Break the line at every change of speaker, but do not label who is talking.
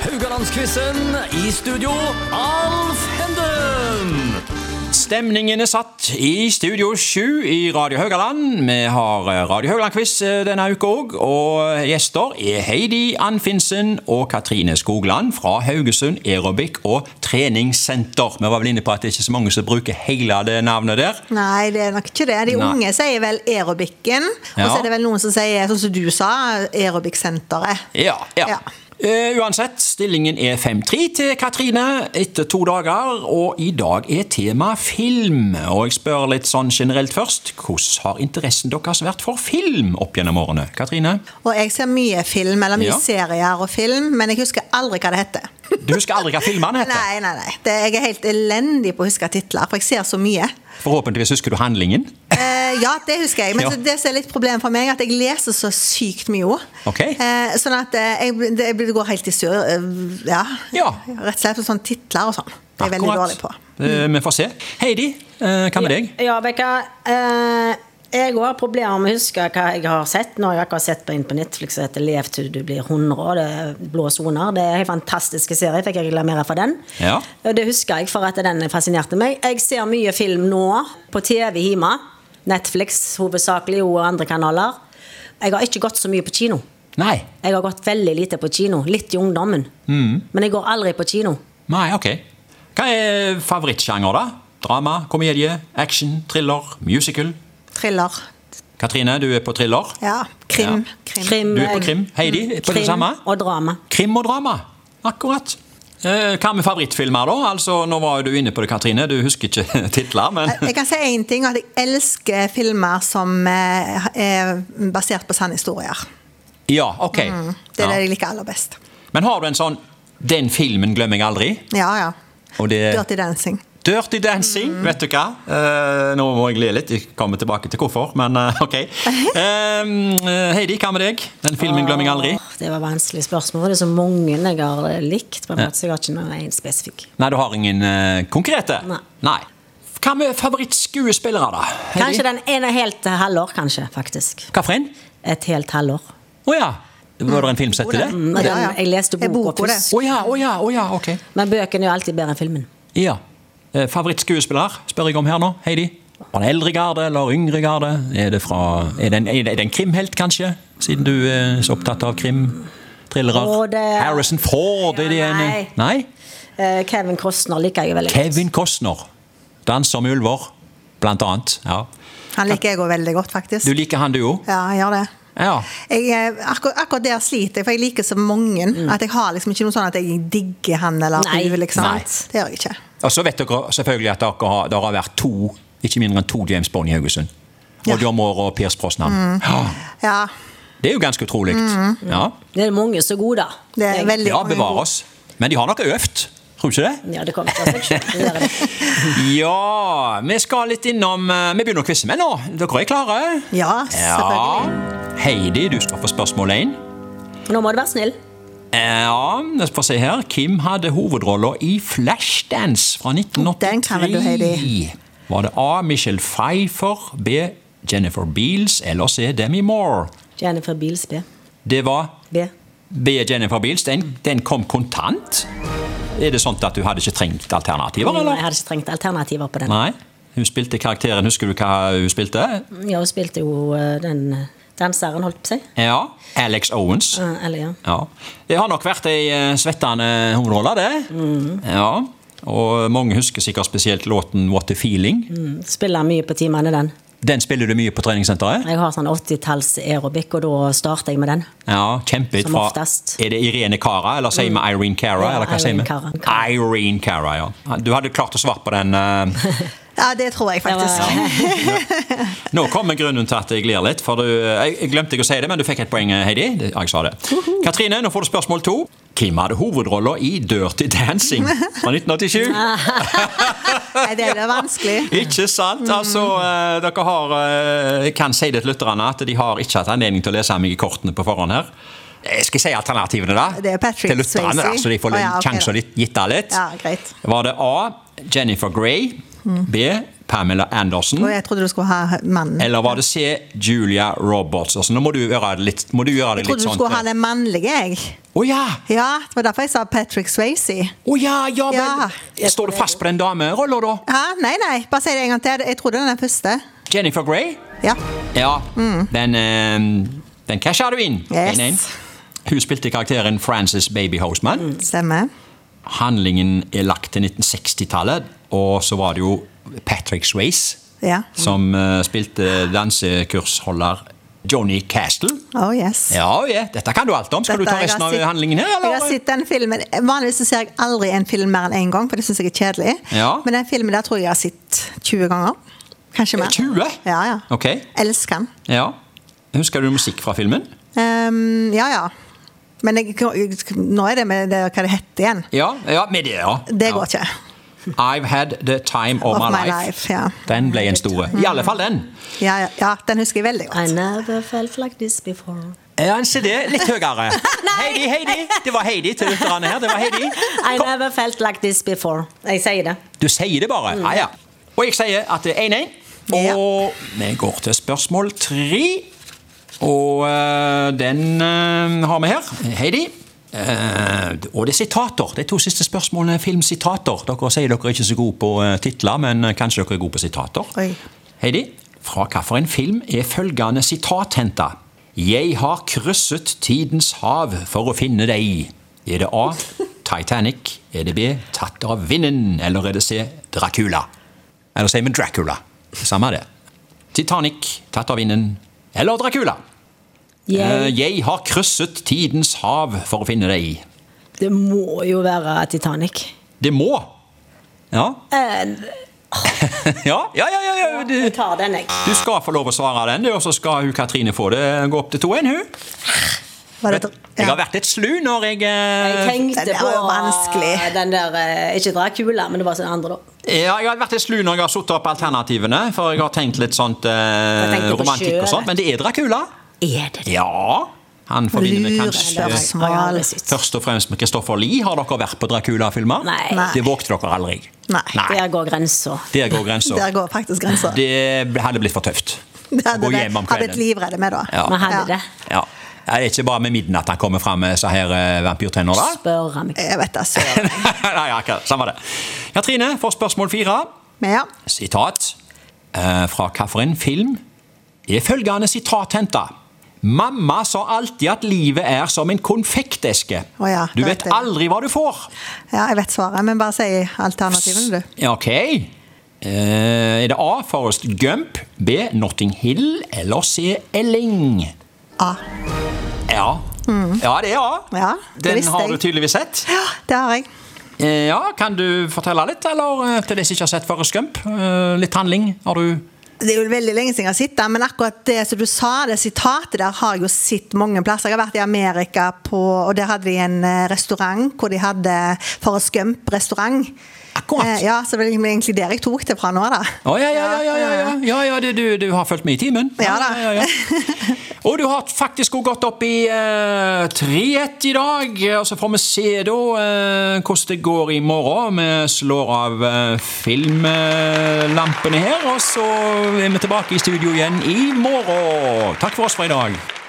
Haugalandsquizen i studio, Alf Henden!
Stemningen er satt i Studio 7 i Radio Haugaland. Vi har eh, Radio Haugaland-quiz eh, denne uka òg. Og gjester er Heidi Anfinsen og Katrine Skogland fra Haugesund Aerobic og Treningssenter. Vi var vel inne på at det er ikke så mange som bruker hele det navnet der.
Nei, det er nok ikke det. De
Nei.
unge sier vel aerobicen. Og
Ja.
så er det vel noen som sier, sånn som du sa, aerobicsenteret.
Ja, ja.
Ja.
Eh, uansett, stillingen er 5-3 til Katrine etter to dager, og i dag er tema film. Og jeg spør litt sånn generelt først, hvordan har interessen deres vært for film opp gjennom årene? Katrine?
Og jeg ser mye film, eller mye
Ja.
serier og film, men jeg husker aldri hva det heter.
Du husker aldri hva filmene heter?
Nei, nei, nei. Det, jeg er helt elendig på å huske titler, for jeg ser så mye.
Forhåpentligvis husker du handlingen.
Eh, ja, det husker jeg, men
Ja.
så det som er litt problem for meg, er at jeg leser så sykt mye ord.
Ok.
Eh, sånn at eh, jeg, det, jeg går helt i sur. eh, ja.
Ja.
Rett og slett på sånne titler og sånn. Det er jeg veldig
Akkurat.
dårlig på. Mm.
Eh, Vi får se. Heidi, eh, hva med deg?
Ja, Bekka. Eh, jeg har problemer med å huske hva jeg har sett. Nå har jeg akkurat sett på inn på Netflix som heter 'Lev til du blir 100'. og Det er Blå soner. Det er en helt fantastisk serie. Fikk jeg reklamere for den.
Ja.
Og Det husker jeg for at den fascinerte meg. Jeg ser mye film nå på TV hjemme. Netflix hovedsakelig og andre kanaler. Jeg har ikke gått så mye på kino.
Nei.
Jeg har gått veldig lite på kino. Litt i ungdommen.
Mm.
Men jeg går aldri på kino.
Nei, ok. Hva er favorittsjanger, da? Drama, komedie, action, thriller, musical?
Thriller.
Katrine, du er på thriller.
Ja. Krim.
Ja.
Krim.
Krim,
Du er på
eh,
krim. Heidi, er på det
krim
samme?
og drama.
Krim og drama. Akkurat. Eh, Hva med favorittfilmer, da? Altså, Nå var jo du inne på det, Katrine. Du husker ikke titler, men
Eh, Jeg kan si én ting, at jeg elsker filmer som eh, er basert på sanne historier.
Ja, ok.
Mm. Det er det
Ja.
jeg liker aller best.
Men har du en sånn 'Den filmen glemmer jeg aldri'?
Ja, ja.
Og det...
Dirty Dancing.
Dirty dancing,
Mm.
vet du hva? Eh, nå må jeg le litt, jeg kommer tilbake til hvorfor, men eh, ok. Eh, Heidi, hva med deg? Den filmen glemmer jeg aldri.
Åh, Det var vanskelig spørsmål. for Det er så mange jeg har eh, likt. på en måte, så jeg har ikke noe en spesifikk.
Nei, du har ingen eh, konkrete?
Nei.
Hva med favorittskuespillere, da? Heidi?
Kanskje den ene helt eh, halvår, kanskje, faktisk.
Hva for en?
Et helt halvår.
Å ja. Var det en film som heter det?
Mm, og
Ja, ja.
den- Jeg leste
Er
boka
boka det?
først.
Å ja, å ja, å ja, ok.
Men bøkene er jo alltid bedre enn filmen.
Ja. Eh, Favorittskuespiller spør jeg om her nå, Heidi. Var det eldre garde eller yngre garde? Er det, fra, er det, en, er det en krimhelt, kanskje? Siden du er så opptatt av krim, thrillere.
Å, det-
Harrison Ford er det
Ja,
en
nei.
Nei?
Eh, Kevin Costner liker jeg jo veldig godt.
Kevin Costner. 'Danser med ulver', blant annet. Ja.
Han liker jeg òg veldig godt, faktisk.
Du liker han, du òg?
Ja, jeg gjør det.
Ja.
Jeg, eh, akkur akkurat der sliter jeg, for jeg liker så mange. At jeg har liksom ikke noe sånn at jeg digger han eller
Mm. Nei.
hun, liksom.
Nei.
Det gjør jeg ikke.
Og så vet dere selvfølgelig at dere har, dere har vært to, ikke mindre enn to James Bond i Haugesund.
Ja.
Odd Moore og Piers Brosnan.
Mm.
Ja.
Ja,
Det er jo ganske utrolig. Ja.
Det er mange så gode, da.
det er
Jeg-
veldig
Ja,
mange
bevare
gode-
oss. Men de har nok øvd, tror du ikke det?
Ja, det kommer til seg selv. Det gjør det.
Ja, vi skal litt innom eh, Vi begynner å quize med nå. Dere er klare?
Ja, selvfølgelig.
Heidi, du skal få spørsmål én. Eh,
Nå må du være snill.
Ja, vi får se her. Kim hadde hovedrolla i Flashdance fra 1983.
Den kan vel du, Heidi.
Var det A. Michelle Pfeiffer, B. Jennifer Beals eller C. Demi Moore?
Jennifer Beals B.
Det var
B.
B. Jennifer Beals. Den, den kom kontant. Er det sånn at du hadde ikke trengt alternativer,
Nei, Jeg
eller?
hadde ikke trengt alternativer på den.
Nei. Hun spilte karakteren. Husker du hva hun spilte?
Ja, hun spilte jo eh, den eh, danseren, holdt på å si.
Ja, Alex Owens.
Eh, Eller, ja.
Ja. Det har nok vært ei eh, svettende hovedrolle, det.
Mm.
Ja. Og mange husker sikkert spesielt låten 'What a Feeling'.
Mm, Spiller mye på timene, den.
Den spiller du mye på treningssenteret?
Jeg har sånn 80-talls aerobic, og da starter jeg med den.
Ja, kjempehit
Som
fra
oftest. Mm.
Er det Irene Cara, eller sier vi Irene Cara?
Ja,
eller hva sier
Irene
vi?
Cara.
Irene Cara, ja. Du hadde klart å svare på den. eh.
Ja, det tror jeg
Det var-
faktisk.
Nå kommer grunnen til at jeg ler litt, for du, eh, jeg jeg glemte ikke å si det, men du fikk et poeng, eh, Heidi. Det- Ja, jeg sa det. Katrine, nå får du spørsmål to. Kim hadde hovedrolla i Dirty Dancing fra 1987.
Ah. Nei, det er vanskelig.
Ikke sant?
Mm.
Altså, eh, dere har eh, Jeg kan si det til lytterne at de har ikke hatt anledning til å lese meg i kortene på forhånd her. Jeg skal si alternativene, da.
Det er Patrick
til lytterne, da,
Swayze.
så de får
Å, ja, Mm. ok,
sjanser
da.
litt, gitt av litt.
Ja, greit.
Var det A. Jennifer Grey. B. Pamela Andersen?
Og jeg trodde du skulle ha mannen.
Eller var det C. Julia Roberts? Altså, nå må du gjøre det litt, må du gjøre det
Jeg
litt
trodde du
sånn
skulle ha
til-
den mannlige, jeg.
Å ja!
Ja, det var derfor jeg sa Patrick Swayze.
Å ja, ja vel!
Ja.
Står du fast på den damerolla, da?
Hæ? Nei, nei, bare si det en gang til. Jeg trodde den er den første.
Jennifer Grey?
Ja.
Ja, den, eh, den casha du inn.
Mm. Yes.
1-1. Hun spilte karakteren Frances Baby Houseman.
Mm. Stemmer.
Handlingen er lagt til 1960-tallet, og så var det jo Patrick Swayze
Ja.
som eh, spilte dansekursholder Johnny Castle.
Oh yes.
Ja, ja, dette kan du alt om. Skal
Dette
du ta
jeg
resten
har
av
sett-
handlingen her?
Jeg har
Eller?
sett den filmen. Vanligvis så ser jeg aldri en film mer enn én en gang, for det syns jeg er kjedelig.
Ja.
Men den filmen der tror jeg jeg har sett 20 ganger. Kanskje mer.
20?
Ja, ja.
Ok,
Elsker den.
ja. Husker du musikk fra filmen?
Ehm, ja, ja. Men jeg, nå er det med det, hva det heter igjen.
Ja, ja med det, ja.
Det
ja.
går ikke.
I've had the time of, my, life.
ja.
Den ble en store. I alle fall den.
Ja, ja, ja, den husker jeg veldig
I
godt.
never felt like this before.
Ja, se det. Litt høyere. Heidi, Heidi. Det var Heidi til lytterne her. Det var Heidi.
I
Kom.
never felt like this before. Jeg sier det.
Du sier det bare. Ja, ja. Og jeg sier at det er 1-1. Og vi går til spørsmål tre. Og øh, den øh, har vi her. Heidi. Eh, og det er sitater. De to siste spørsmålene er filmsitater. Dere sier dere er ikke så gode på eh, titler, men eh, kanskje dere er gode på sitater.
Oi.
Heidi, fra hvilken film er følgende sitat henta? Jeg har krysset tidens hav for å finne deg. Er det A. Titanic? Er det B. Tatt av vinden? Eller er det C. Dracula? Eller sier vi Dracula? Samme det. Titanic, Tatt av vinden eller Dracula? Eh,
Jeg,
jeg har krysset tidens hav for å finne deg.
det må jo være Titanic.
Det må. Ja,
Eh,
ja, ja. ja, ja, ja. Du,
Jeg tar den, jeg.
du skal få lov å svare den, du, og så skal hun Katrine få det gå opp til 2-1, hun.
Var det,
Vet, jeg har vært litt slu når jeg
Jeg
eh,
tenkte
Den er jo
på
vanskelig.
den der eh, Ikke Dracula, men det var den andre, da.
Ja, jeg har vært litt slu når jeg har satt opp alternativene, for jeg har tenkt litt sånt eh,
Jeg tenkte på
romantikk
sjø,
og sånt. Men det er Dracula.
Er det det?
Ja. Han forbinder vi
Eller
kanskje
Lurespørsmål.
har jeg aldri sett?
først og fremst med Christopher Lie. Har dere vært på Dracula-filmer?
Nei.
Nei.
Det vågte dere aldri.
Nei.
Der går grensa.
Der går grensa.
Der går faktisk grensa.
Det hadde blitt for tøft.
Det hadde
Gå
vi
hjem om
hadde blitt
kvelden.
livredde med da.
Ja.
Vi hadde det.
Ja. Ja, Det er ikke bare med midnatt han kommer fram med så her eh, vampyrtenner, da.
Spør han meg.
Jeg vet det, søren.
Nei, akkurat. Samme det. Ja, Trine får spørsmål fire.
Men ja.
Sitat eh, fra hvilken film er følgende sitat henta? Mamma sa alltid at livet er som en konfekteske.
Å ja,
du
det
vet
vet jeg.
aldri hva du får.
ja, jeg vet svaret, men bare si alternativene, du.
Ja, Ok. Eh, er det A. Forrest Gump, B. Notting Hill eller C. Elling?
A.
Ja. Ja, det er A.
Mm. Ja, det
Den
visste
har
jeg.
du tydeligvis sett.
Ja, det har jeg.
Eh, ja, Kan du fortelle litt, eller eh, til de som ikke har sett Forrest Gump? Eh, litt handling har du
Det er jo veldig lenge siden jeg har sett den, men akkurat det som du sa, det sitatet der har jeg jo sett mange plasser. Jeg har vært i Amerika, på, og der hadde de en eh, restaurant hvor de hadde Forrest Gump-restaurant.
Akkurat.
Eh, Ja, så det er egentlig der jeg tok det fra nå, da.
Å, ja, ja, ja, ja, ja, ja. ja, ja du, du, du har fulgt med i timen.
Ja da.
Ja, ja, ja. Og du har faktisk også gått opp i eh, 3-1 i dag. Og så får vi se da eh, hvordan det går i morgen. Vi slår av eh, filmlampene her, og så er vi tilbake i studio igjen i morgen. Takk for oss for i dag.